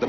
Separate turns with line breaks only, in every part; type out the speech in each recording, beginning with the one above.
The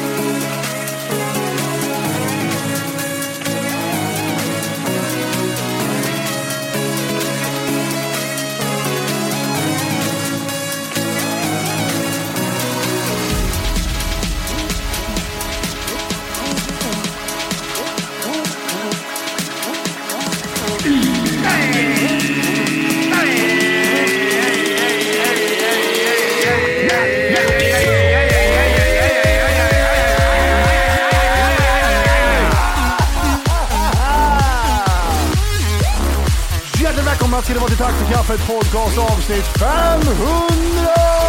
Hjärtligt välkomna till det var till Tack för kaffet podcast avsnitt 500!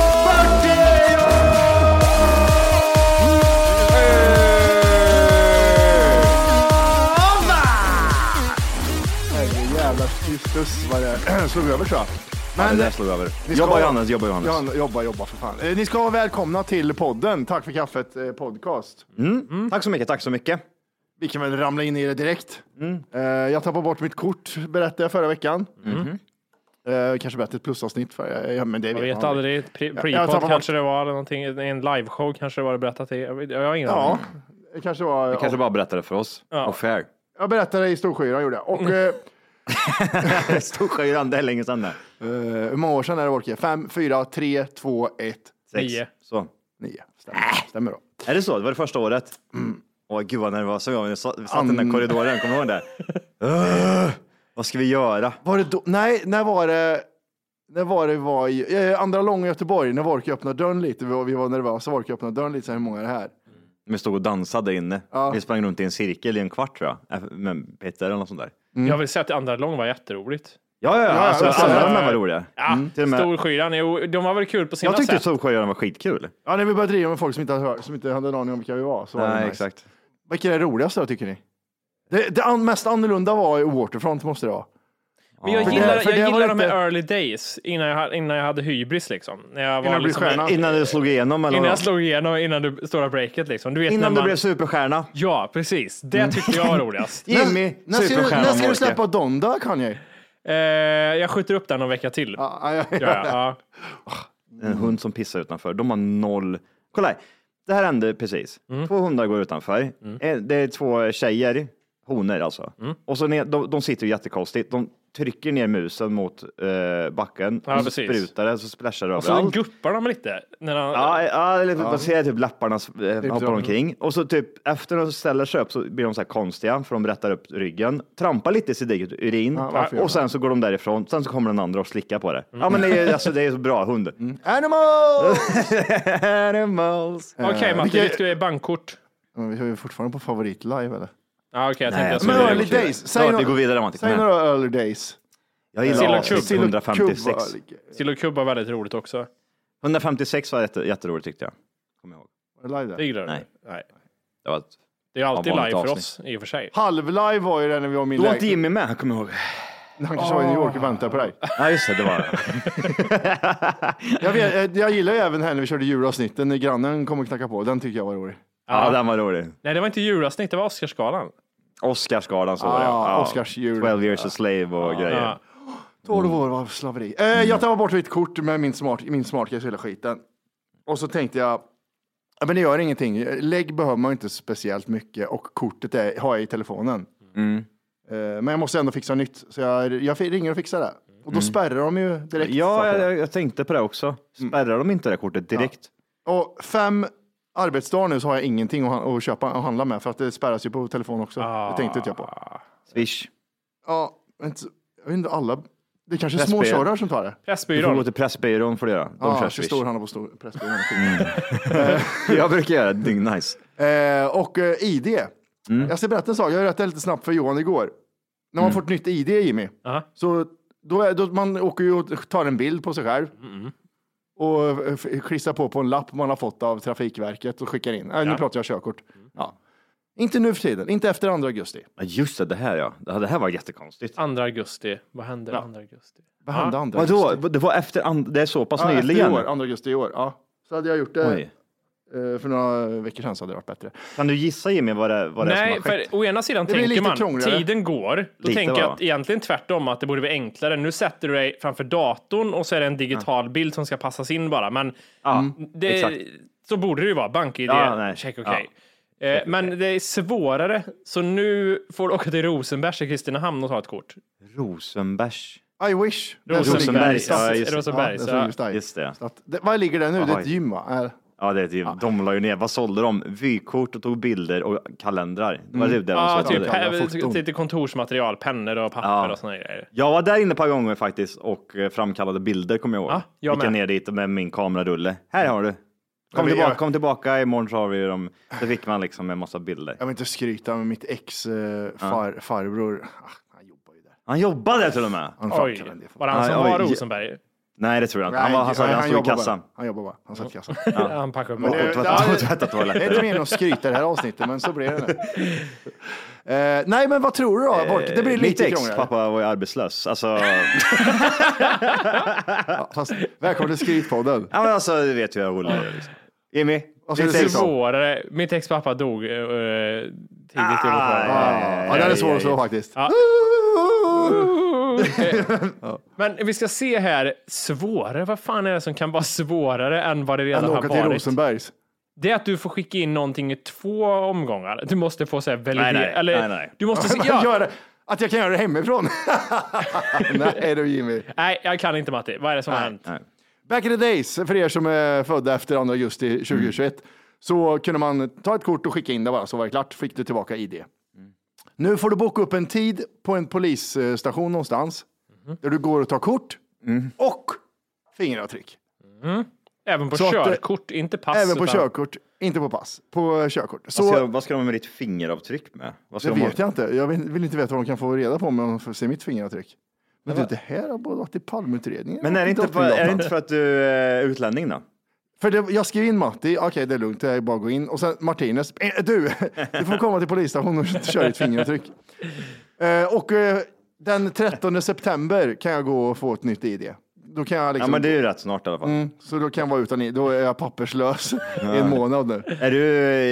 Herrejävlar, Kristus vad det slog över så. Men,
Det där slog över.
vi ska-
Jobba Johannes, jobba Johannes.
Ja, jobba, jobba för fan. Eh, ni ska vara välkomna till podden Tack för kaffet eh, podcast.
Tack så mycket, tack så mycket.
Vi kan väl ramla in i det direkt.
Mm.
Eh, jag tappade bort mitt kort, berättade jag förra veckan.
Mm-hmm.
Eh, kanske bättre ett plusavsnitt. För, eh, ja, men det
Jag
vet
vet
man.
aldrig. Pre-
jag tappar
Prepod
bort-
kanske det var, eller någonting. En liveshow kanske det var det berättat i. Jag vet- jag har ingen
Ja,
aning.
det kanske var...
Du kanske bara berättade för oss.
Ja.
Och fair.
Jag berättade i Storskyran, gjorde jag. Och
Mm.
eh,
Storsjöjran, det är länge sedan det.
eh, hur många år sedan är det, Wolke? 5, 4, 3, 2, 1,
Sex.
Nio.
Så.
9. Stämmer,
Äh!
Stämmer då.
Är det så? Det var det första året?
Mm.
Åh, gud vad nervös jag var när jag sa- vi satt i den där korridoren. Kommer du ihåg det? Öh, vad ska vi göra?
Var det då? Nej, när var det? När var det vi var i eh, Andra Lång i Göteborg, när Wolke öppnade dörren lite. Vi var, vi var nervösa, Wolke öppnade dörren lite. Så här, hur många är det här?
Vi stod och dansade inne. Vi sprang runt i en cirkel i en kvart tror jag. Äh, Med Petter eller något sånt där.
Jag vill säga att Andra Lång var jätteroligt.
Ja, ja, ja. Alltså,
jag sa
alla
det.
de här var roliga.
Ja,
Till och med-
Storskyran, jo, de var väl kul på sina
Jag tyckte
sätt.
Storsjöjran var skitkul.
Ja, när vi började driva med folk som inte hade, hört- som inte hade en aning om vilka vi var. Så var det
Nej,
nice.
exakt.
Vilka är det roligaste då, tycker ni? Det, det an, mest annorlunda var ju Waterfront måste det vara.
Men jag
Ja.
gillar,
För det- för
jag
det var
gillar de här
inte-
early days, innan jag, innan jag hade hybris liksom. När jag
du
var
blev
liksom
stjärna.
Innan du slog igenom eller
Innan jag
vad?
slog igenom, innan du stora breaket liksom. Du vet
Innan
när
du
man...
blev superstjärna.
Ja, precis. Det tyckte jag var roligast.
Jimmy,
när, när, ska du,
superstjärnan
när ska du
Wolke.
släppa Donda, Kanye?
Eh, jag skjuter upp den någon vecka till. Ja,
Ja, ja, ja.
ja, ja.
En hund som pissar utanför. De har noll. Kolla här. Det här hände precis. Två hundar går utanför. Eh, Det är två tjejer, honor alltså. Och så ner, de, de sitter ju jättekonstigt. De trycker ner musen mot eh, backen.
Ja,
och så
precis.
sprutar det, så splashar det
Så
överallt.
guppar de lite. När de...
Ja, ja, eller man ser typ läpparna eh, hoppar
så.
omkring. Och så typ efter de ställer sig upp så blir de så här konstiga för de rättar upp ryggen, trampar lite i sitt eget urin
varför gör
och sen så går de därifrån. Sen så kommer den andra och slickar på det. Ja, men det är, alltså, det är så bra hund.
Mm. Animal!
Animals.
Okej Matti,
vilka-
vilket är bankkort?
Men vi är ju fortfarande på favoritlive eller?
Ja, okej, jag
Nej,
tänkte jag
alltså,
skulle...
Men
det är
early
okej.
days.
Ja,
Säg,
vi
några-
går vidare, Matti. Kom
säg
igen.
några early days.
Jag
Sill
gillar
och
avsnitt
kubb.
156.
Cuba-
Sill och kubb var väldigt roligt också.
156 var jätte, jätteroligt tyckte jag. Kommer jag ihåg.
var det live
Det
där?
gillar du.
Nej.
Nej.
Det var ett...
Det är alltid
Ja, vanligt
live för
avsnitt.
oss i och för sig.
Halvlive var ju det när vi var i min
Då var inte
lägenhet.
Jimmy med, kommer jag ihåg.
Han kanske var i New York och väntade på dig.
Ja, just det, det var det.
Jag, vet, eh, jag gillar ju även här när vi körde julavsnitten när grannen kom och knackade på. Den tycker jag var rolig.
Ja, den var rolig.
Nej, det var inte julavsnitt, det var Oscarsgalan.
Oscarsgalan så var det.
Ah,
ja.
Oscarsjul.
12 years a slave och grejer.
Ja.
12 år av slaveri. Eh,
Mm.
jag tappade bort mitt kort med min smart, min smartcase och hela skiten. Och så tänkte jag, ja, men det gör ingenting. Lägg behöver man ju inte speciellt mycket och kortet är, har jag i telefonen.
Mm.
Eh, men jag måste ändå fixa nytt, så jag, jag ringer och fixar det. Och då spärrar de ju direkt.
Mm. Ja,
fattar jag.
jag, jag tänkte på det också. Spärrar de inte det kortet direkt?
Och fem arbetsdagar nu så har jag ingenting att, att köpa och handla med för att det spärras ju på telefon också. Det tänkte inte jag på.
Swish.
Ja, men inte, jag vet inte alla. Det är kanske är
Pressbyrån.
småkörare som tar det.
Du får gå
Pressbyrån.
till Pressbyrån får du göra. De
Ja,
kör
så
swish.
står han på stor pressbyrån.
Jag brukar göra det. Nice.
Eh, och eh, ID.
Mm.
Jag ska berätta en sak. Jag rättade lite snabbt för Johan igår. När man får ett nytt ID, Jimmy,
Aha.
så då är, då, man åker ju och tar en bild på sig själv
Mm-hmm.
och eh, f- klistrar på på en lapp man har fått av Trafikverket och skickar in. Äh, nu pratar jag körkort.
Mm.
Ja. Inte nu för tiden, inte efter 2 augusti.
Ja, Just det, det här ja. Det här- det här var jättekonstigt.
2 augusti. Vad händer 2 augusti?
Vad hände andra
Vadå?
augusti?
Det var efter, and- det är så pass
Ja, efter i
nyligen?
år, 2 augusti i år. Ja. Så hade jag gjort det
Oj.
eh, för några veckor sedan så hade det varit bättre.
Kan du gissa Jimmy vad det, vad det är
Nej,
som har skett?
för å ena sidan
blir
tänker
lite
man
krångligare.
tiden går. Då
Lite,
tänker jag
va?
att egentligen tvärtom, att det borde vara enklare. Nu sätter du dig framför datorn och så är det en digital bild som ska passas in bara. Men
exakt.
det, så borde det ju vara. BankID,
Ja, nej.
check okej. Eh, Men det är svårare, så nu får du åka till Rosenbergs i Kristinehamn och ta ett kort.
Rosenbergs.
I wish.
Rosenberg, ja, just det.
Rosenberg,
Ja,
så-
det såg just
Just
det.
det.
Så att, det. Vad ligger det nu? Det är ett
Oj.
gym va? Är-
Ja, det är typ, de la ju ner. Vad sålde de? Vykort och tog bilder och kalendrar. Det var
Mm.
det de
Ja,
sålde.
typ
jävla
här-
foton.
lite kontorsmaterial, pennor och papper
Ja.
och såna grejer.
Jag var där inne ett par gånger faktiskt och eh, framkallade bilder kommer jag ihåg.
Ja, jag
Gick jag
med.
ner dit med min kamerarulle. Här har du. Kom
men
tillbaka,
jag-
kom tillbaka imorgon så har vi dem. Så fick man liksom en massa bilder.
Jag vill inte skryta med mitt ex eh, far, farbror. Ah, han jobbar ju där.
Han jobbade till och med.
Han
Oj,
fuckade det.
var det han
Nej,
som
oj,
var
ja.
Rosenberg?
Nej, det tror jag inte. Han, var, han, sa-
Nej,
han stod i
jobbar
kassan.
Bara. Han jobbar bara. Han satt i kassan.
Han packade upp
Men
mat.
det-
Och tvätta-
Ja,
och tvätta
Det är inte
toaletten.
meningen att skryta i det här avsnittet, men så blir det nu. Eh, nej, men vad tror du då? Volker? Det blir
Eh, Mitt
lite
ex
krångligare.
pappa var ju arbetslös. Alltså,
Fast, välkommen till Skrytpodden.
ja, men alltså du vet hur jag rullar. Liksom. Jimmy,
ska
ditt
du
ex.
säga?
svårare. Mitt ex pappa dog eh, eh, tidigt i
Ah,
Ja,
vårt
den är svår att slå faktiskt.
Men vi ska se här, svårare, vad fan är det som kan vara svårare än vad det redan
Än
har
åka till
varit?
Rosenbergs.
Det är att du får skicka in någonting i två omgångar. Du måste få säga validera.
nej,
eller,
nej, nej.
Du måste se, ja,
Gör det- Att jag kan göra det hemifrån. nej du Jimmy.
nej, jag kan inte Matti. Vad är det som har hänt?
Back in the days, för er som är födda efter 2 augusti
Mm.
2021, så kunde man ta ett kort och skicka in det bara, så var det klart, fick du tillbaka ID.
Mm.
Nu får du boka upp en tid på en polisstation någonstans,
Mm.
där du går och tar kort och fingeravtryck.
Även på
Så att, eh,
körkort, inte pass.
Även på
utan-
körkort, inte på pass, på körkort. Så
Vad ska, vad ska de med ditt fingeravtryck med? Vad ska
det
de ha-
vet jag inte. Jag vill, vill inte veta vad de kan få reda på om de får se mitt fingeravtryck. Men du, det här har både varit i Palmeutredningen
Men är det, inte för,
Drottninggatan.
är det inte för att du eh, är utlänning då?
För det, jag skrev in Matti, okej det är lugnt, det är bara att gå in. Och sen Martinez, eh, du, du får komma till polisstationen och köra ett fingeravtryck. Eh, och eh, den 13 september kan jag gå och få ett nytt ID. Då kan jag
Ja,
liksom,
men det är ju rätt snart i alla fall.
så då kan jag vara utan ID, då är jag papperslös i en månad nu.
Är du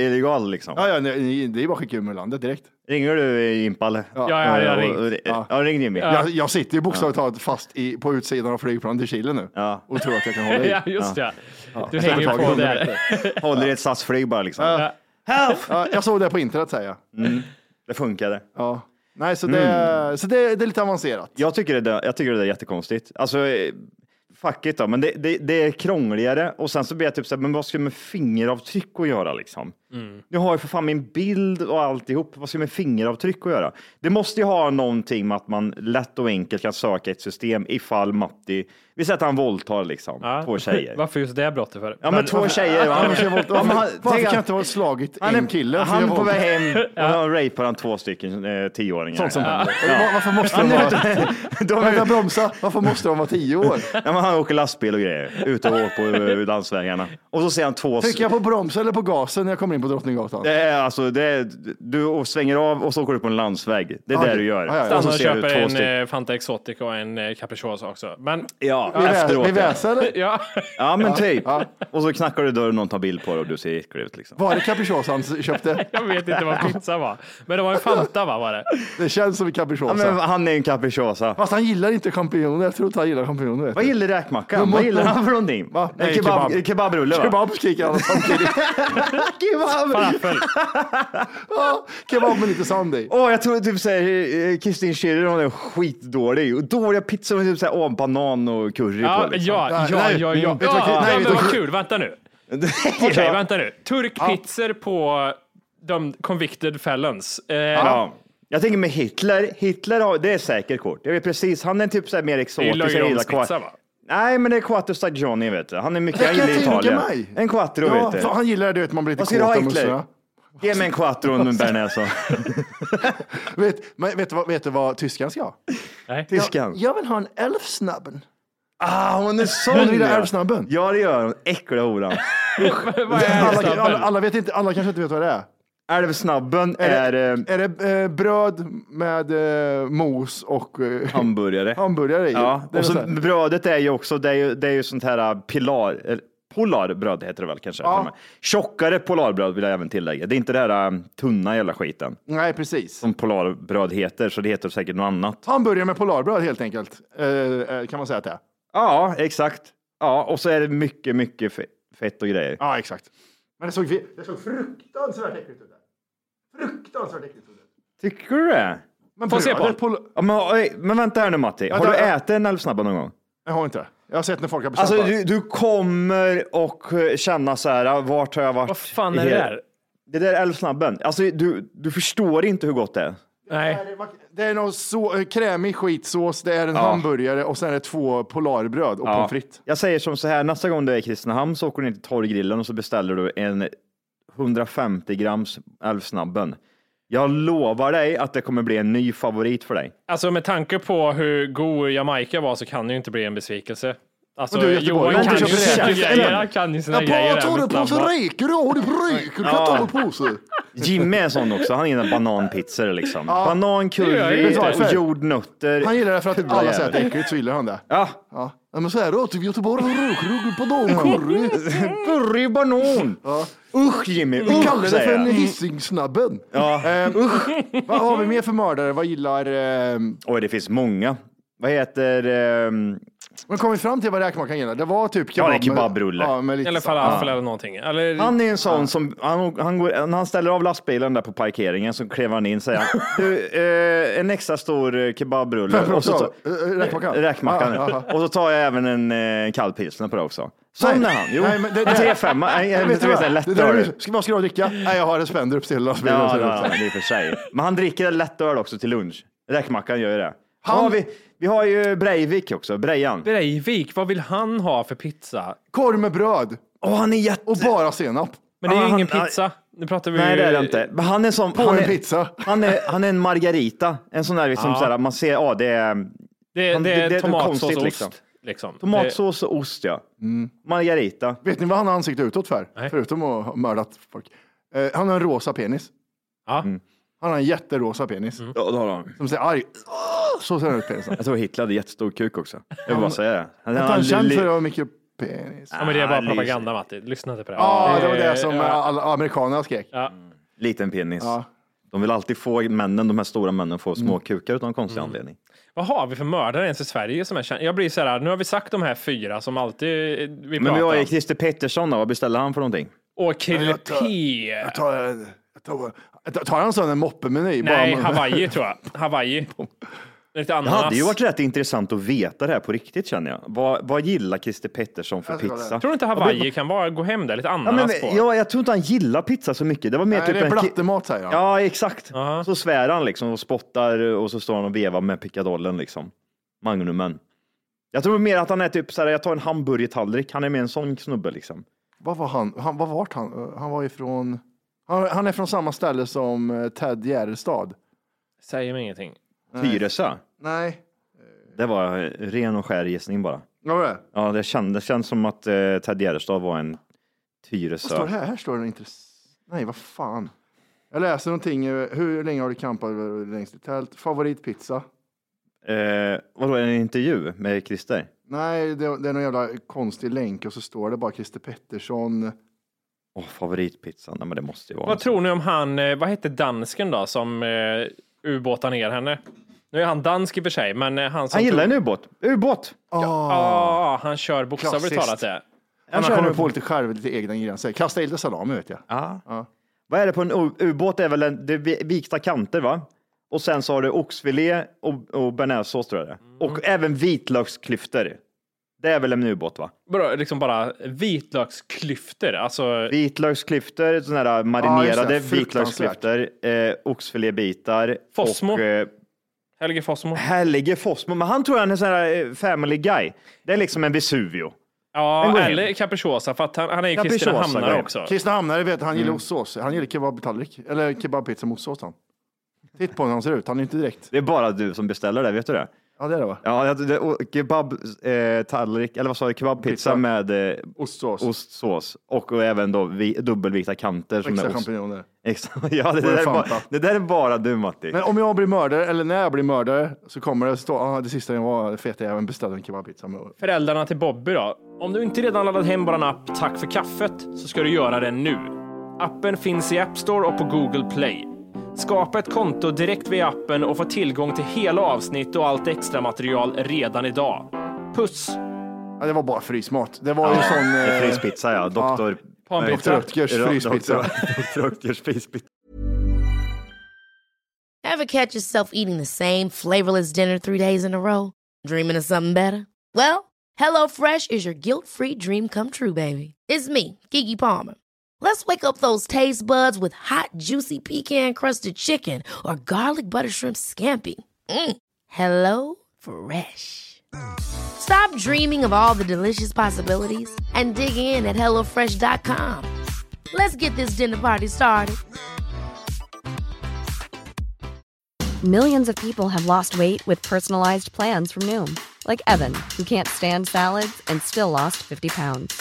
illegal liksom?
Ja, ja, nej, det är bara att skicka ur landet direkt.
Ringer du i Impal?
Ja, jag har redan
Och-
ringt.
och- Ja, ring Jimmy.
Jag, Alltså, jag sitter ju bokstavligt talat fast i, på utsidan av flygplanet till Chile nu
Ja.
och tror att jag kan hålla i.
Ja, just det. Du
Jag
hänger
tar
på
100
där.
meter.
Håller i ett SAS-flyg bara liksom. Help!
Ja, jag såg det på internet säger jag.
Det funkade.
Ja. Nej, så, det,
Mm.
så det, det är lite avancerat.
Jag tycker det där, jag tycker det där är jättekonstigt. Alltså, eh, fuck it då, men det, det, det är krångligare och sen så blir jag typ så här, men vad ska jag med fingeravtryck att göra liksom? Nu har jag för fan min bild och alltihop, vad ska jag med fingeravtryck att göra? Det måste ju ha någonting med att man lätt och enkelt kan söka ett system ifall Matti, vi säger att han våldtar liksom,
Ja.
två tjejer.
Varför just det brottet? För?
Ja men, två tjejer. va?
Varför, varför,
Ja, men han-
varför
tänk
kan jag
att-
inte ha slagit
han
en kille? för
Han
jag
är på
var-
väg hem och ja. rapar han två stycken eh, tioåringar.
Sånt som
ja.
händer. Var- Varför måste de vara...
De är,
Vänta, bromsa. Varför måste de vara tio år?
ja, men han åker lastbil och grejer, ute och åker på eh, landsvägarna. Och så ser han två...
Trycker jag på broms eller på gasen när jag kommer in in på Drottninggatan?
Det är alltså, det är, du svänger av och så åker du på en landsväg. Det är
Ja,
det
det-
du gör.
ja, ja, ja.
Och så
Stannar och
ser du
köper
två
en
stycken.
eh, Fanta Exotic och en eh, capricciosa också. Men
Ja,
vi, vä-
efteråt.
vi
ja.
väser eller?
ja,
Ja, men typ. Och så knackar du dörren och någon tar bild på dig och du ser äcklig ut liksom.
Var det capricciosa han köpte?
jag vet inte vad pizza var. Men det var en Fanta va, var det?
Det känns som en
Ja,
capricciosa.
men han är ju en capricciosa.
Fast han gillar inte champinjoner. Jag tror inte han gillar champinjoner. vet
Vad
du.
gillar räkmackan? Vad gillar han för någonting?
Va?
En
Nej,
kebab,
kebab.
kebabrulle va?
Kebab skriker han samtidigt.
Kebab!
Falafel.
Ja, Kebab men inte Sunday.
Åh, jag tror typ såhär, Kristin Schirrer hon är skitdålig. Och Dåliga pizzor med typ såhär, åh, banan och curry
Ja,
på. Liksom.
ja, ja, ja,
Nej,
ja.
mm.
ja.
Vet du vad- nej,
men
vet du-
vad kul, vänta nu. Okej, vänta nu. Turkpizzor på de convicted felons. Eh,
Ja. Jag tänker med Hitler, Hitler har, det är säkert kort. Jag vet precis, han är typ såhär mer exotisk. jag gillar
löjromspizza,
kvar-
va?
Nej, men det är quattro stagioni vet du. Han är mycket,
Det
han
kan
gillar
jag tänka
Italien.
mig.
En quattro
Ja,
vet
för
du.
han gillar det, du vet, man blir lite
Vad ska du
kåt
ha
av
Hitler?
musslorna.
Ge mig en quattro och en bearnaise. så.
Vet, men vet, du vad- vet du vad tyskan ska ha?
Nej.
Tyskan.
Jag vill ha en elfsnabben.
Ah, hon är sån!
Hon gillar
ja.
älvsnabben.
Ja, det gör hon. Äckliga horan.
Vad är
Alla, alla,
alla,
alla, vet inte, alla kanske inte vet vad det är.
Älvsnabben är, eh,
Är det eh, bröd med eh, mos och eh,
hamburgare.
hamburgare i?
Ja,
det är
och så
så här.
brödet är ju också, det är ju, det är ju sånt här äh, pilar, eller polarbröd heter det väl kanske? till och med. Tjockare polarbröd vill jag även tillägga. Det är inte det här äh, tunna jävla skiten
Nej, precis.
som polarbröd heter, så det heter säkert något annat.
Hamburgare med polarbröd helt enkelt, eh, eh, kan man säga att det är.
Ja, exakt. Ja, och så är det mycket, mycket fe- fett och grejer.
Ja, exakt. Men det såg, vi- det såg fruktansvärt äckligt ut där. Fruktansvärt äckligt ut.
Tycker du det?
Men
Får se på.
brödet pol-
Ja, men, oj, men vänta här nu Matti, har
Vänta,
du
ja.
ätit en älvsnabba någon gång?
Jag har inte det. Jag har sett när folk har beställt
Alltså
bara.
du, du kommer och eh, känna så här, vart har jag varit?
vad fan
i
är det
hela-
där?
Det där är älvsnabben. Alltså du, du förstår inte hur gott det är.
Nej.
Det är någon så, eh, krämig skitsås, det är en hamburgare och sen är det två polarbröd och pommes frites.
Jag säger som så här, nästa gång du är i Kristinehamn så åker du ner till Torggrillen och så beställer du en 150 grams älvsnabben. Jag lovar dig att det kommer bli en ny favorit för dig.
Alltså med tanke på hur god Jamaica var så kan det ju inte bli en besvikelse. Alltså
Men du, Göteborg,
Johan
men
kan
du
ju
köper
sina
det.
grejer. Han kan ju sina grejer. där med snabba.
räkor, du har det på räkor, du kan ta på påse.
Jimmy är en sån också, han gillar bananpizzor liksom. Banan,
gör jag
curry,
inte.
och jordnötter.
Han gillar det för att
Fula
alla säger att
jävel.
det är äckligt, så gillar han det.
Ja,
Ja. Ja, men så är det, typ Göteborg har räkrygg på dagen, curry.
curry, banan. Usch Jimmy,
Vi
usch
kallar det för
säger
en
jag. Mm.
Hisingsnabben. Ehm, vad har vi mer för mördare? Vad gillar... ehm,
Oj, det finns många. Vad heter... ehm,
Men kom vi fram till vad räkmackan gillar? Det var typ
Ja,
kebab.
det är kebabrulle.
Ja, med lite
Eller falafel eller någonting. Eller,
Han är en sån som, han, han går, när han ställer av lastbilen där på parkeringen så kliver han in och säger han, du, eh, en extra stor eh, kebabrulle. Och så, så,
Eh, eh, räkmacka.
räkmackan.
Ja, ja, ja.
Och så tar jag även en eh, kall pilsner på det också. Sån är
Nej.
han. Jo,
Nej, men det-
en
det-
3-5. Nej, jag vet
du vad?
inte, en
Det där är
lättöl.
ju- Ska, vad ska du ha att dricka? Nej, jag har en Spendrup till lastbilen.
Ja,
så
det
det
har
också.
han i och för sig. Men han dricker en lättöl också till lunch. Räkmackan gör ju det.
Han-
Ja, vi, vi har ju Breivik också, Brejan.
Breivik, vad vill han ha för pizza?
Korv med bröd
Åh, han är jätte...
och bara senap.
Men det är ju
Ja,
ingen
han-
pizza. Nu pratar vi
Nej,
ju-
det är det inte. Men han är som... På
en
han är,
pizza.
Han är, han är en margarita. En sån där liksom så här, man ser, ja det är
Det,
Han-
det
det- det är
är tomatsås
konstigt,
och
liksom.
ost. Liksom.
tomatsås och ost ja. Margarita.
Vet ni vad han har ansikte utåt för? Förutom att ha mördat folk. Eh, han har en rosa penis.
Ja.
Mm.
Han har en jätterosa penis.
Ja, det har han.
Som ser arg. Så ser den ut penisen.
Jag tror Hitler hade jättestor kuk också. Jag vill bara säga det. Han,
Att han är känd
li-
för att ha mycket penis.
Ja, men det är
Ah,
bara
lys.
propaganda, Matti. Lyssna inte på det.
Ja, det var det som eh, alla amerikanerna skrek.
liten penis.
Ja.
De vill alltid få männen, de här stora männen, få små kukar utan konstig anledning.
Vad har vi för mördare ens i Sverige som är känd? Jag blir så här, nu har vi sagt de här fyra som alltid eh, vi
Men vi
pratar
har ju
om.
Christer Pettersson då, vad beställer han för någonting?
Och Kille
Jag tar-
P.
Jag tar, en- jag tar, jag tar, tar han sån en moppemeny? bara
Nej,
med-
Hawaii tror jag. Hawaii. Lite
Det
ananas.
hade ju varit rätt intressant att veta det här på riktigt känner jag. Vad, vad gillar Christer Pettersson för
Jag ska
pizza?
Tror du inte Hawaii kan vara, gå hem där? Lite
Ja, men,
ananas på.
ja, jag tror inte han gillar pizza så mycket. Det var mer
Nej,
typ
det är
en ki-
blattemat säger han.
Ja, exakt. Så svär han liksom och spottar och så står han och vevar med pickadollen liksom. Magnumen. Jag tror mer att han är typ så här, jag tar en hamburgertallrik. Han är mer en sån snubbe liksom.
Vad var han? han vad vart han? Eh, Han var ifrån... Han, han är från samma ställe som eh, Ted Gärdestad.
Säger mig ingenting.
Tyresö.
Nej.
Det var eh, ren och skär gissning bara.
Vad var det?
Ja, det kändes, det känns som att eh, Ted Gärdestad var en
Vad står det
Tyresö.
här? Här står det intressant. Nej, vad fan. Jag läser någonting. eh, Hur länge har du campat längst i tält? Favoritpizza?
Eh, vadå, en intervju med Christer?
Nej, det, det är någon jävla konstig länk och så står det bara Christer Pettersson.
Åh, favoritpizzan. Nej, men det måste ju vara.
Vad tror ni om han, eh, vad hette dansken då som eh, ubåtar ner henne? Nu är han dansk i och för sig, men eh, han som...
Han gillar
tog-
en ubåt. Ubåt!
Ja, han kör bokstavligt
Klassiskt.
talat det.
Han
kör
kommer
upp-
på lite själv, lite egna gränser. Kasta lite salami vet jag.
Vad är det på en u- ubåt? Det är väl en, det är vi- vikta kanter, va? Och sen så har du oxfilé och, och bearnaisesås, tror jag det är.
Mm.
Och även vitlöksklyftor. Det är väl en ubåt, va?
Bra, liksom bara vitlöksklyftor, alltså...
Vitlöksklyftor, sådana här
Ja,
marinerade
just det. Fruktansvärt.
vitlöksklyftor, eh, oxfilébitar
Fossmo.
och eh,
Helge Fossmo.
Helge Fossmo. Men han tror jag är en sån här eh, family guy. Det är liksom en Vesuvio. Den
Ja,
går hem.
eller Capricciosa, för att han, han är ju
Capricciosa går
Kristinehamnare
hem.
också.
Kristna Hamnare vet, han gillar ostsås. Han gillar kebabtallrik. Eller kebabpizza med ostsås han. Titt på hur han ser ut. Han är inte direkt.
Det är bara du som beställer det, vet du det?
Ja, det är det va?
Ja, jag- det- och kebab, eh, tallrik, eller vad sa du, kebabpizza
Pizza.
med eh,
Ostsås.
ostsås och, och även då vi, dubbelvikta kanter som
Extra
är ost.
champinjoner.
Extra, ja, det,
en
där är bara,
Fanta.
det där är bara du Matti.
Men om jag blir mördare, eller när jag blir mördare, så kommer det stå, ah, det sista jag var, feta jäveln beställde en kebabpizza med
Föräldrarna till Bobby då? Om du inte redan laddat hem vår app Tack för kaffet så ska du göra det nu. Appen finns i App Store och på Google Play. Skapa ett konto direkt via appen och få tillgång till hela avsnitt och allt extra material redan idag. Puss!
Ja, det var bara frysmat. Det var ju sån... eh,
Frispizza ja, doktor...
Panpizza.
Dr. Rutgers fryspizza.
Dr. Rutgers fryspizza.
Ever catch yourself eating the same flavorless dinner three days in a row? Dreaming of something better? Well, HelloFresh is your guilt free dream come true, baby. It's me, Kiki Palmer. Let's wake up those taste buds with hot, juicy pecan crusted chicken or garlic butter shrimp scampi. Mm. Hello Fresh. Stop dreaming of all the delicious possibilities and dig in at HelloFresh.com. Let's get this dinner party started.
Millions of people have lost weight with personalized plans from Noom, like Evan, who can't stand salads and still lost 50 pounds.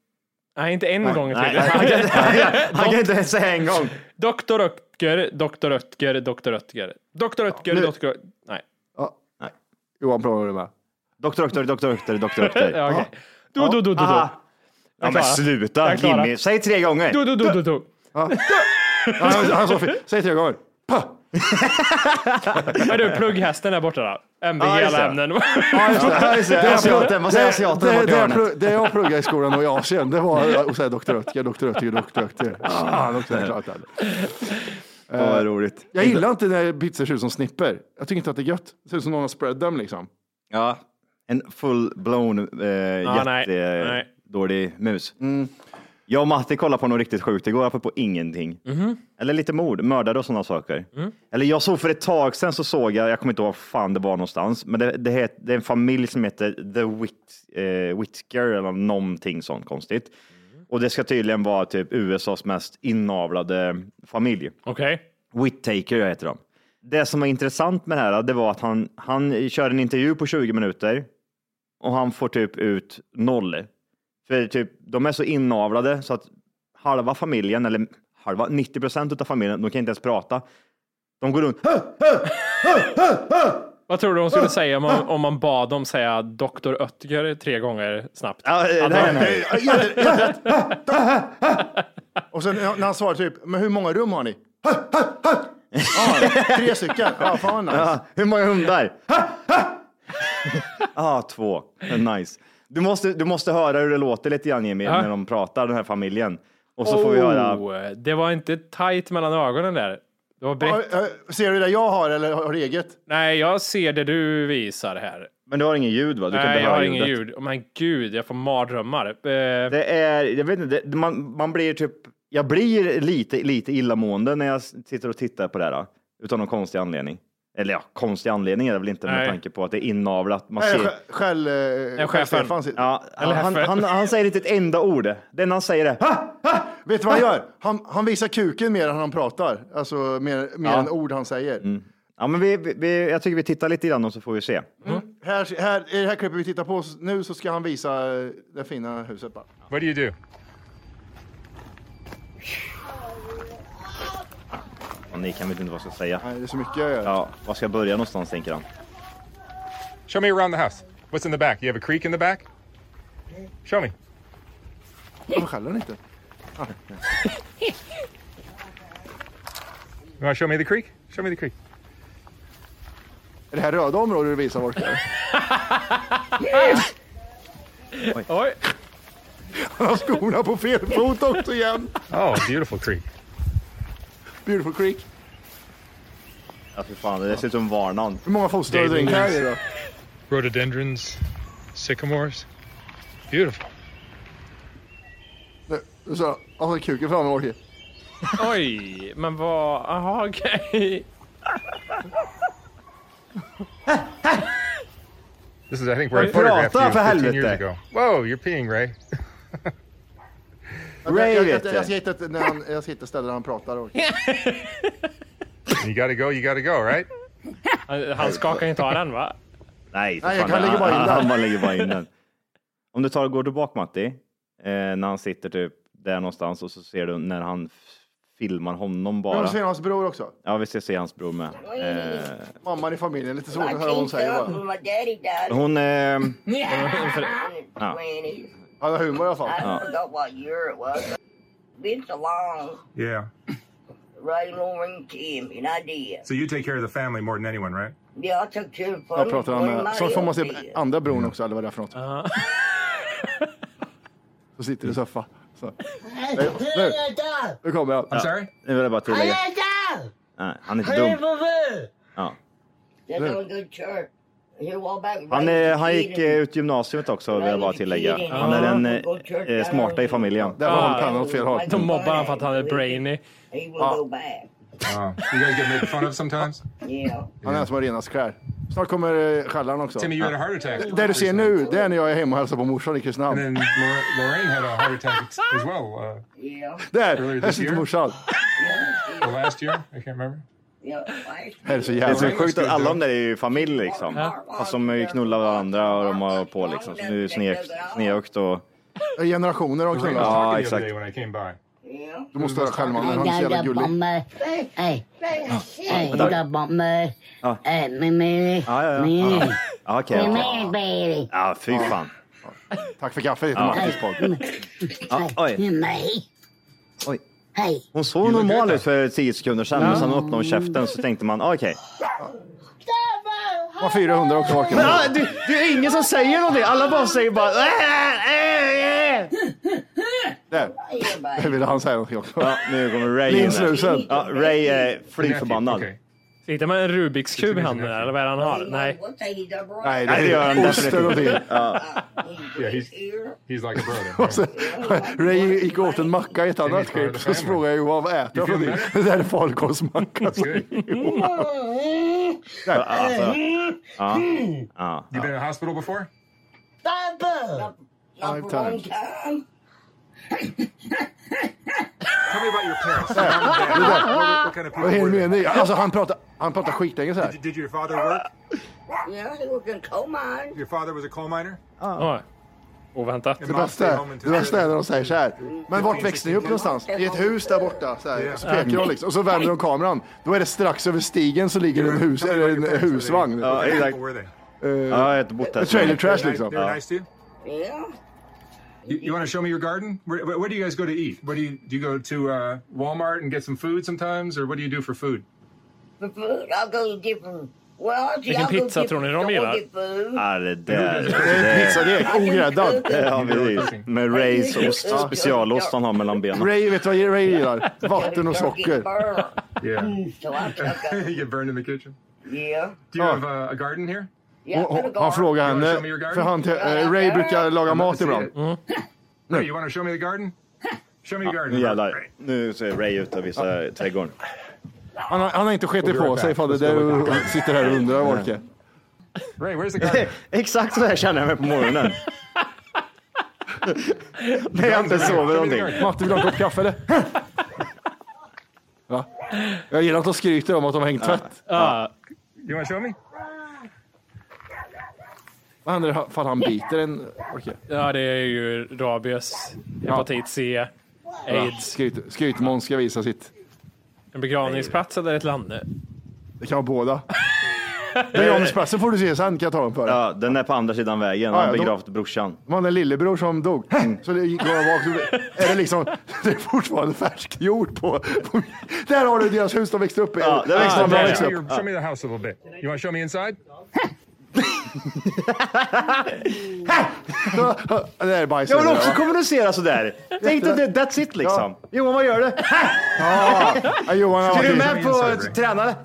Nej, inte en gång
Nej,
till.
han kan, han kan- han kan inte ens säga en gång.
Doktor Röttger, Doktor Röttger, Doktor Röttger. Doktor Röttger,
nu-
Doktor... Nej.
Johan provar du med.
Doktor, doktor, doktor, doktor, doktor, doktor.
Ja, okej. Du, du, du, du, du.
Aha. Ja men
klarar.
sluta
Jag klarar.
Jimmy, säg tre gånger.
Du, du, du, du, du.
Han, han sa fel. Säg tre gånger.
Är du plugghästen där borta då? MVG
Ja, just
alla
det.
ämnen.
Ja, just det. Ja, just det. Asiaten, vad säger asiaten
det,
borta i
det, jag
hörnet?
plugg- det jag pluggade i skolan och i Asien, det var att säga Dr. Oetker, Dr. Oetker, Dr. Oetker. Fan också, jag klarat det.
Fan, vad roligt.
Jag gillar inte när pizzor ser ut som snipper. Jag tycker inte att det är gött. Det ser ut som någon har spread dem liksom.
Ja. En full-blown eh,
Ja, nej, nej.
jättedålig mus. Mm. Jag och Matti kollade på något riktigt sjukt igår, apropå ingenting.
Mhm.
Eller lite mord, mördare och sådana saker.
Mm.
Eller jag såg för ett tag sedan så såg jag, jag kommer inte ihåg var fan det var någonstans, men det, det, het, det är en familj som heter The Whit, eh, Whitaker eller någonting sånt konstigt.
Mm.
Och det ska tydligen vara typ USAs mest inavlade familj.
Okej.
Whittaker heter de. Det som var intressant med det här, det var att han, han kör en intervju på 20 minuter och han får typ ut noll. För typ, de är så inavlade så att halva familjen, eller halva, 90 procent av familjen, de kan inte ens prata. De går runt.
Vad tror du hon
Ah.
skulle säga om man, om man bad dem säga Dr. Oetker tre gånger snabbt?
Ja, det- det här är nöjd.
Och sen när han svarar typ, men hur många rum har ni? ah, tre stycken. Ah, fan vad nice.
Ja, Hur många hundar? Ja, ah, två. Nice. Du måste, du måste höra hur det låter lite grann Jimmy, när de pratar, den här familjen. Och så får vi höra.
Oh, det var inte tight mellan ögonen där. Det var brett.
Ah, eh, Ser du det jag har eller har du eget?
Nej, jag ser det du visar här.
Men du har ingen ljud va? Du kan
Nej,
inte
jag
höra
har ingen
ljudet.
ljud. Oh, men gud, jag får mardrömmar. Eh,
Det är, jag vet inte, det, man, man blir typ jag blir lite, lite illamående när jag sitter och tittar på det här, utan någon konstig anledning. Eller ja, konstig anledning är det väl inte med
Nej.
tanke på att det är inavlat. Man
Nej,
ser...
sj- Skäll... eh, skäll Stefan sitter-
Ja, han, han, han, han säger inte ett enda ord. Den han säger är ha! ha!
Vet du vad han gör? Han, han visar kuken mer än han pratar. Alltså mer, mer
Ja. Mm.
än ord han säger.
Ja, men vi, vi- vi, jag tycker vi tittar lite grann och så får vi se.
Här, här, I det här klippet vi tittar på nu så ska han visa eh, det fina huset bara.
What do you do?
Och ni kan väl inte vad jag ska säga.
Nej, det är så mycket jag gör.
Ja, var ska jag börja någonstans tänker han.
Show me around the house. What's in the back? You have a creek in the back? Show me.
Varför skäller han inte? Ah, nej.
You want to show me the creek? Show me the creek.
Är det här röda området du visar vart det är?
Oj.
Han har skorna på fel fot också igen.
Oh, beautiful creek.
Beautiful Creek.
Ja, för fan, det ser ut som varnan.
Hur många foster har du dränkt här i då?
Rhododendrons, sycamores. Beautiful.
Nu, Nu sa han, han har kuken framme Orke.
Oj, men vad... Jaha, okej.
This is, I think, where I
Prata
photographed you
för
15 years
helvete.
ago. Whoa, you're peeing, Ray.
Jag, jag, jag,
vet
jag,
jag.
ska hitta ett- när han- jag ska hitta ett ställe där han pratar Orke.
You gotta go, you gotta go, right?
Han skakar inte av den, va?
Nej, för
Nej, jag
fan,
kan lägga bara in
han,
den.
han bara lägger bara in den. Om du tar och går tillbaka Matti, eh, när han sitter typ där någonstans och så ser du när han f- filmar honom
Men
bara.
vi ser hans bror också.
Ja, vi ska se hans bror med. Eh,
Mamman i familjen, lite svårt
I
att höra vad
changed
hon säger
up
bara.
when my daddy died.
hon... Eh,
I'm
ja.
in the 20s.
Han har humor i alla fall.
I forgot what year it was. Been so long,
Yeah.
right over and came, and I did.
So you take care of the family more than anyone, right?
Yeah, I took care of
Jag pratar han med. Så får man
Maria
se andra bron också, eller vad det är för något. Så sitter du i soffa. Så. Nej, Nu, nu kommer jag.
Ja. Nu vill jag bara tillägga. Nej, han är inte dum. Ja.
That's on good church. He walked back
Han,
right
eh,
to
han gick
the
eh, ut gymnasiet också vill jag bara tillägga. Han är den eh, eh, smarta i familjen.
Där var han pennan åt fel håll.
Ah. De mobbar han för att han är brainy.
kid. He will go back.
Oh. You guys get made fun of sometimes?
Yeah.
Han är den som har renast skär. Snart kommer eh, skällaren också.
Timmy, you had a heart attack.
Det du ser nu, det är när jag är hemma och hälsar på morsan i Kristinehamn.
And then Lor- Lorraine had a heart attack ex- as well. Uh,
Yeah.
Där,
Earlier
här
this
sitter
year?
morsan.
or last year? I can't remember.
Yeah. I-
Det är så
Det är så
jävla
sjukt att alla de där är ju familj liksom. Fast de eh, knullar varandra och de har på liksom. Så nu är sne- snedökt och...
Generationer har
Lorraine
knullat.
was talking the
exakt.
other day when I came by.
Du måste höra
Hey,
skällmannen, han är så jävla
Dada
gullig.
Bomber. Hey, hey,
Vänta.
Dada Bomber.
Ja.
Hey,
Eh,
Mimiri.
Ja, ja, ja.
Mimiri.
Ja, okej. okej.
Mimiri, baby.
Ja, fy fan.
Tack för kaffet, heter
Ja.
Mattis podd.
Ja, oj.
Mimiri.
Oj.
Hey,
Hon såg normal ut för tio sekunder sedan, men sen öppnade hon käften så tänkte man ah, okej.
Var 400 också Orke.
Men ah, det, det är ingen som säger någonting. Alla bara säger bara äh, äh, äh.
Där. Där ville han säga någonting också.
Ja, nu kommer Ray in. här.
Linslusen.
Ja, Ray är fly förbannad.
Sitter man en Rubiks kub i handen eller vad är det han har? Nej.
One thing he done right.
Nej,
Nej, det gör han
är ost eller
definitivt.
någonting.
Ja.
Yeah, he's, he's like a brother.
Och så- Ray gick åt en macka i ett annat
Timmy
klipp,
Turner
så
Family.
frågade jag ju vad han äter för någonting. Det där är falukorvsmacka.
Alltså, ja. Ja.
You been in a hospital before?
Not for a long time.
Tell me about your parents. what kind of people
Vad är
were
det
they?
med det? Alltså han pratar, han pratar skitengelska här.
Did, did your father work?
Yeah, he worked in coal mine.
Your father was a coal miner?
Ah.
Oj. Oväntat.
Det bästa, är- det bästa är när de säger så här. Men vart växte ni upp någonstans? I ett hus där borta. Så, här, så pekar de liksom. Och så vänder de kameran. Då är det strax över stigen så ligger det en, hus, eller en husvagn. Eh,
Ja,
What kind of
exakt.
people were they?
Ja, jag har bott här. så
Trailer
länge.
trash
They were nice-
liksom.
They were
Ja.
nice to you?
Yeah.
You, you want to show me your garden? Where, where, where do you guys go to eat? What do you do? You go to uh, Walmart and get some food sometimes, or what do you do for food?
For food, I'll go to different. Well, see,
Vilken
I'll go
pizza
different
tror ni de
store
gillar? Ah.
get food.
Ja, det där.
Det är en pizzadeg, ogräddad.
Ja, precis. Med Rays ost, specialost han har mellan benen.
Ray, vet du vad Ray gillar? Vatten och socker.
Yeah.
So I took a,
you get burned in the kitchen.
yeah.
Do you have uh, a garden here?
Yeah,
Och,
I'm gonna
och,
go
han
out.
frågar
You wanna
henne,
show me your garden?
för han, te- eh, Ray brukar laga mat ibland.
Hey, you want to show me the garden? Show me your
Ja,
garden.
nu jävlar. Nu ser Ray ut och visar trädgården.
Han har, han har inte skitit
We'll be
på
right
sig
back.
ifall det
Let's go
är
right
det du
back.
sitter här och undrar, Wolke.
Ray, where's the garden?
Exakt så här känner jag mig på morgonen. När jag inte sover någonting.
Matte, vill du ha en kopp kaffe eller? Va? Jag gillar att de skryter om att de har hängt tvätt.
Ah,
You want to show me?
Vad händer ifall han biter en? Okej.
Ja, det är ju rabies, hepatit C, aids.
Skryt- Skrytmåns ska visa sitt.
En begravningsplats eller ett lande?
Det kan vara båda. Begravningsplatsen får du se sen, kan jag ta den för dig.
Ja, den är på andra sidan vägen.
Ja,
Han
ja,
har
de-
begravt brorsan.
Det var en lillebror som dog. Mm. Så det går jag bak. så det- Är det liksom, det är fortfarande färskt jord på, på... Där har du deras hus de växte upp i.
Ja, där växte
Ah,
de
där
upp.
växte
Show,
upp.
your, show me the house a little bit. You want to show me inside?
Ja, Det där är bajs.
Jag vill också kommunicera sådär. Tänk dig det, that's it liksom. Johan, vad gör du?
Ja, ja, Johan har
Ska du
varit
med
i-
på tränare?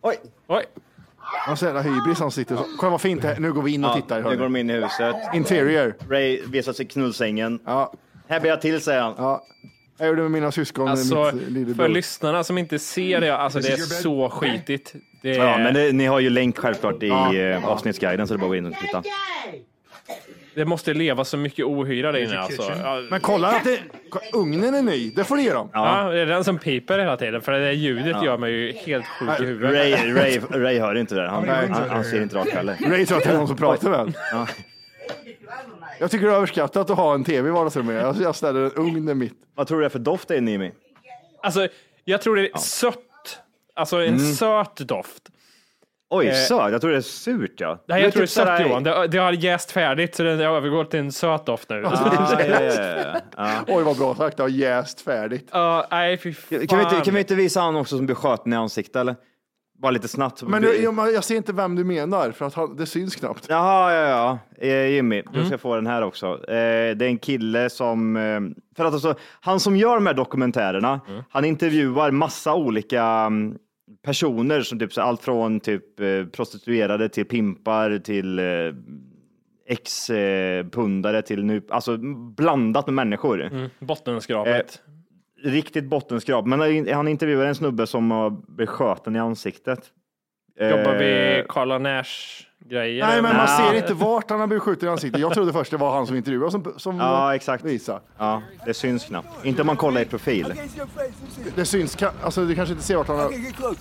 Oj.
Oj.
Han har så jävla hybris han sitter så. Kolla vad fint det här Nu går vi in och tittar.
nu går de in i huset.
Interior.
Ray visar sig knullsängen.
Ja.
Här blir jag till, säger han.
Ja. Jag gjorde med mina syskon.
Alltså,
mitt lillebror.
för lyssnarna som inte ser det, alltså det är så skitigt. Det är,
Ja, men det, ni har ju länk självklart i eh, avsnittsguiden så det är bara att gå in och titta.
det måste leva så mycket ohyra där inne alltså. Ja,
Men kolla att det, ko- ugnen är ny. Det får du ge dem.
Ja, det är den som piper hela tiden, för det där ljudet
Ja.
gör mig ju helt sjuk i huvudet.
Ray, Ray, Ray hör inte det. där. Han,
Nej.
han, han ser inte rakt heller.
Ray tror att det är någon som pratar med en.
Ja.
Jag tycker det är överskattat att ha en tv i vardagsrummet. Jag, jag ställer en ugn i mitt.
Vad tror du det är för doft det är inne i mig?
Alltså, jag tror det är sött. Alltså en
Mm.
söt doft.
Oj,
Eh.
söt. Jag tror det är surt ja.
Nej, jag tror det är
typ sådär-
sött Johan. Det, det har jäst färdigt så det övergår till en söt doft nu.
Ja, ja, ja, ja.
Oj, vad bra sagt. Det har jäst färdigt.
Ja, nej fy
Ja.
fan.
Kan, vi inte, kan vi inte visa han också som blir skjuten i ansiktet eller? Bara lite snabbt.
Men nu, jag, jag ser inte vem du menar, för att han, det syns knappt.
Jaha, ja, ja. Eh, Jimmy, du ska få den här också. Eh, det är en kille som, eh, för att alltså, han som gör de här dokumentärerna, han intervjuar massa olika mm, personer som typ så allt från typ eh, prostituerade till pimpar till eh, ex-pundare till nu, alltså blandat med människor.
Mm, bottenskrapet.
Eh, Riktigt bottenskrap. Men han intervjuar en snubbe som har blivit skjuten i ansiktet.
Jobbar
Eh,
vi Carla Nash-grejer?
Nej, men man
Nej.
ser inte vart han har blivit skjuten i ansiktet. Jag trodde först det var han som intervjuade som, som
Ja, exakt.
visade.
Ja, det syns knappt. Inte om man kollar i profil.
Det syns, ka- alltså du kanske inte ser vart han har...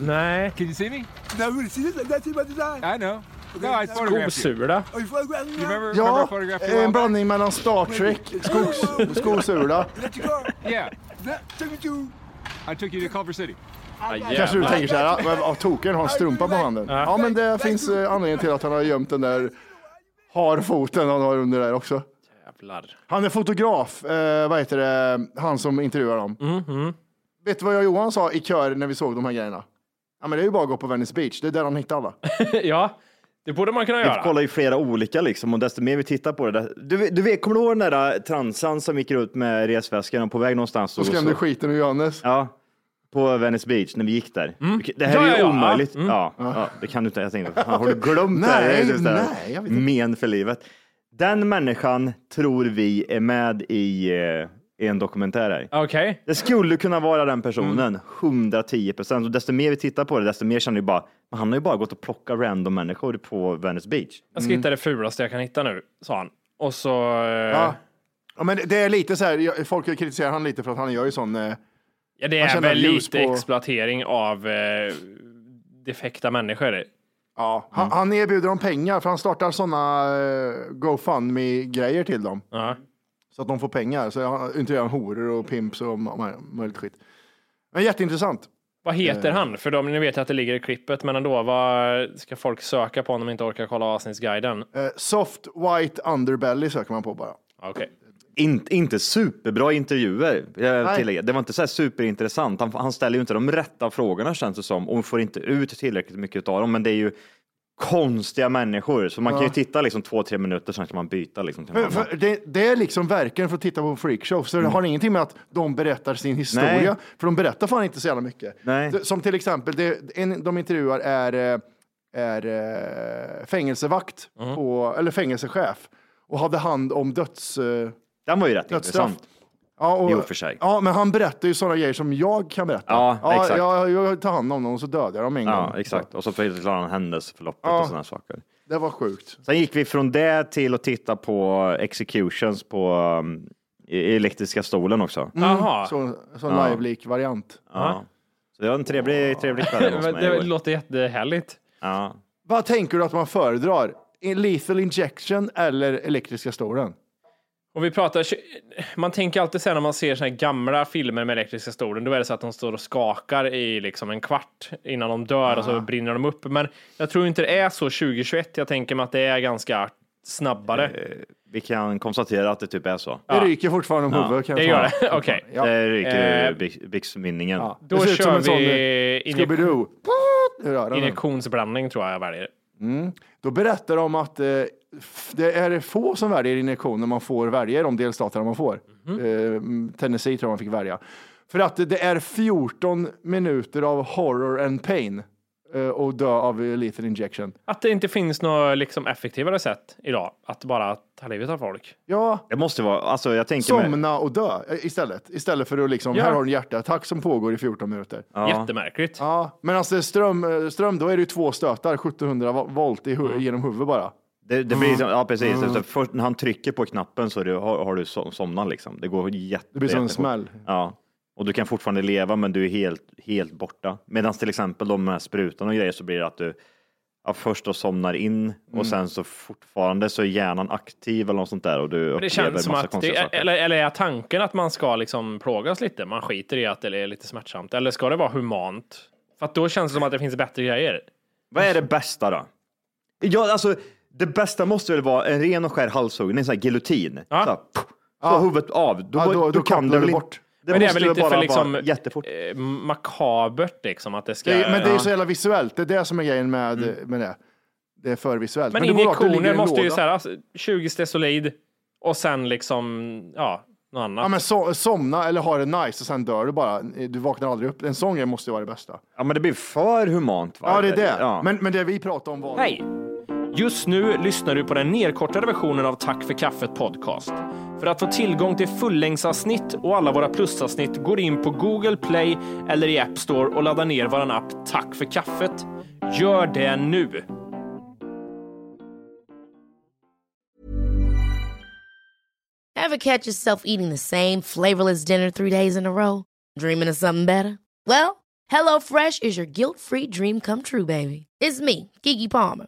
Nej.
Can you see me?
Now really see this? That's my design.
I know. No, I photographed you.
Skosula.
Are you photographing
You remember, remember I
Ja,
photographed you a
en
while back?
blandning mellan Star Trek, skogs, skosula.
Yeah.
Took me to.
I took you to Culver City.
Kanske du tänker så här, "Ah, vad token har en strumpa på handen. Ja, men det finns eh, anledning till att han har gömt den där harfoten han har under där också.
Jävlar.
Han är fotograf, eh, vad heter det, han som intervjuar dem. Vet du vad jag och Johan sa i kör när vi såg de här grejerna? Ja, men det är ju bara att gå på Venice Beach, det är där de hittar alla.
ja, det borde man kunna
Vi
göra.
kollar ju flera olika liksom och desto mer vi tittar på det. Du, du vet, kommer du ihåg den där eh, transan som gick ut med resväskan på väg någonstans?
Då skrämde skiten ur Johannes.
Ja, på Venice Beach när vi gick där. Det här
Mm. Ja,
är ju
ja, ja.
omöjligt.
Mm.
Ja, ja, det kan du inte. Jag tänkte, fan, har du glömt det?
Nej,
här? Det är så här
nej, jag vet inte.
Men för livet. Den människan tror vi är med i, eh, i en dokumentär här.
Okej.
Det skulle kunna vara den
Mm.
personen, 110 procent. Och desto mer vi tittar på det, desto mer känner vi bara, men han har ju bara gått och plockat random människor på Venice Beach.
Jag ska hitta det fulaste jag kan hitta nu, sa han. Och så... eh,
Ja. Ja, men det är lite så här, jag- folk kritiserar han lite för att han gör ju sån... Eh,
Ja, det
Man
är
känner
väl
ljus
lite
på-
exploatering av eh, defekta människor.
ja, han, han erbjuder dem pengar för han startar såna eh, GoFundMe-grejer till dem.
Ja.
Så att de får pengar. Så han intervjuar han horor och pimps och ma- ma- möjligt skit. Men jätteintressant.
Vad heter han? För de, ni vet att det ligger i klippet, men ändå, vad ska folk söka på om de inte orkar kolla avsnittsguiden?
Eh, soft White Underbelly söker man på bara.
Ah, Okej.
In, inte superbra intervjuer, jag
Nej.
tillägger. Det var inte så här superintressant. Han, han ställer ju inte de rätta frågorna känns det som och får inte ut tillräckligt mycket av dem. Men det är ju konstiga människor, så man kan ju titta liksom två, tre minuter, sen kan man byta liksom. Till
Men för det, det är liksom verkligen för att titta på freakshow, så det har ingenting med att de berättar sin historia,
Mm. Nej.
för de berättar fan inte så jävla mycket.
Nej.
Det- Som till exempel, det, en de intervjuar är, eh, är
Mm.
eh, fängelsevakt, på, eller fängelsechef, och hade hand om döds... eh,
Den var ju rätt
Dödsstraff.
intressant.
Ja, och,
I och för sig.
Ja, men han berättar ju sådana grejer som jag kan berätta.
Ja, exakt.
Jag, jag tar hand om dem och så dödar jag dem en gång.
Ja, exakt. Och så förklarar han händelseförloppet
Ja.
och sådana saker.
Det var sjukt.
Sen gick vi från det till att titta på executions på um, i- elektriska stolen också.
Mm. Så, så
Ja.
live-leak-variant.
Ja. Så det var en trevlig, trevlig kväll hos mig.
Det
låter jättehärligt. Ja.
Vad tänker du att man föredrar? En Lethal injection eller elektriska stolen?
Och vi pratar, man tänker alltid sen när man ser såna här gamla filmer med elektriska stolen, då är det så att de står och skakar i liksom en kvart innan de dör och så brinner de upp. Men jag tror inte det är så 2021. Jag tänker mig att det är ganska snabbare.
Vi kan konstatera att det typ är så.
Det Ja. ryker
fortfarande
om huvudet, kan jag Det gör säga. det? Okej.
Ja. Det ryker
Eh,
eh, byxmynningen.
Då kör vi
Scooby-Doo.
injek- Eh, injektionsblandning tror jag jag väljer.
Mm. Då berättar de att eh, f- det är få som väljer injektioner man får välja i de delstaterna man får. Eh, Tennessee tror jag man fick välja. För att det är 14 minuter av horror and pain eh, och dö av eh, lethal injection.
Att det inte finns något liksom effektivare sätt idag att bara ta livet av folk.
Ja,
Det måste vara, alltså jag tänker mig-
somna och dö eh, istället. Istället för att liksom,
Ja.
här har du en hjärtattack som pågår i 14 minuter.
Jättemärkligt.
Ja, men alltså ström, eh, ström, då är det ju två stötar, 1700 vo- volt i hu- genom huvudet bara.
Det, det blir, som- ja precis,
Mm.
Så först när han trycker på knappen så är det, har, har du som- somnat liksom. Det går jätte,
Det blir som en
jättefort.
smäll.
Ja. Och du kan fortfarande leva men du är helt, helt borta. Medan till exempel de här sprutan och grejer så blir det att du ja, först då somnar in
Mm.
och sen så fortfarande så är hjärnan aktiv eller något sånt där och du
Men det
upplever
känns som
massa
att,
konstiga
det,
saker.
eller, eller är tanken att man ska liksom plågas lite? Man skiter i att det är lite smärtsamt. Eller ska det vara humant? För att då känns det som att det finns bättre grejer.
Vad är det bästa då? Ja, alltså, det bästa måste väl vara en ren och skär halshuggning, en sån här gillutin. Ja. Så, här, pff, så huvudet av. Då,
Ja, då-
då,
då
kan
kopplar
du
du
väl
bort.
bort. Det
Men det är
måste
väl inte
bara
för
vara
liksom-
jättefort.
Eh, makabert liksom att det ska...
Det är, men det är ju
Ja. Mm.
så jävla visuellt. Det är det som är grejen med, med det. Det är för visuellt.
Men
det går bra att det ligger i
injektioner
en
måste ju
låda.
så här, alltså, 20 stesolid och sen liksom, ja, något annat.
Ja, men so somna eller ha det nice och sen dör du bara. Du vaknar aldrig upp. En sån grej måste ju vara det bästa.
Ja, men det blir för humant. Va?
Ja, det är det.
Ja.
Men, men det vi pratar om var...
Hej! Just nu lyssnar du på den nedkortade versionen av Tack för kaffet podcast. För att få tillgång till fullängdsavsnitt och alla våra plusavsnitt går in på Google Play eller i App Store och laddar ner vår app Tack för kaffet. Gör det nu!
Ever catch yourself eating the same flavorless dinner three days in a row? Dreaming of something better? Well, HelloFresh is your guilt free dream come true, baby. It's me, Kiki Palmer.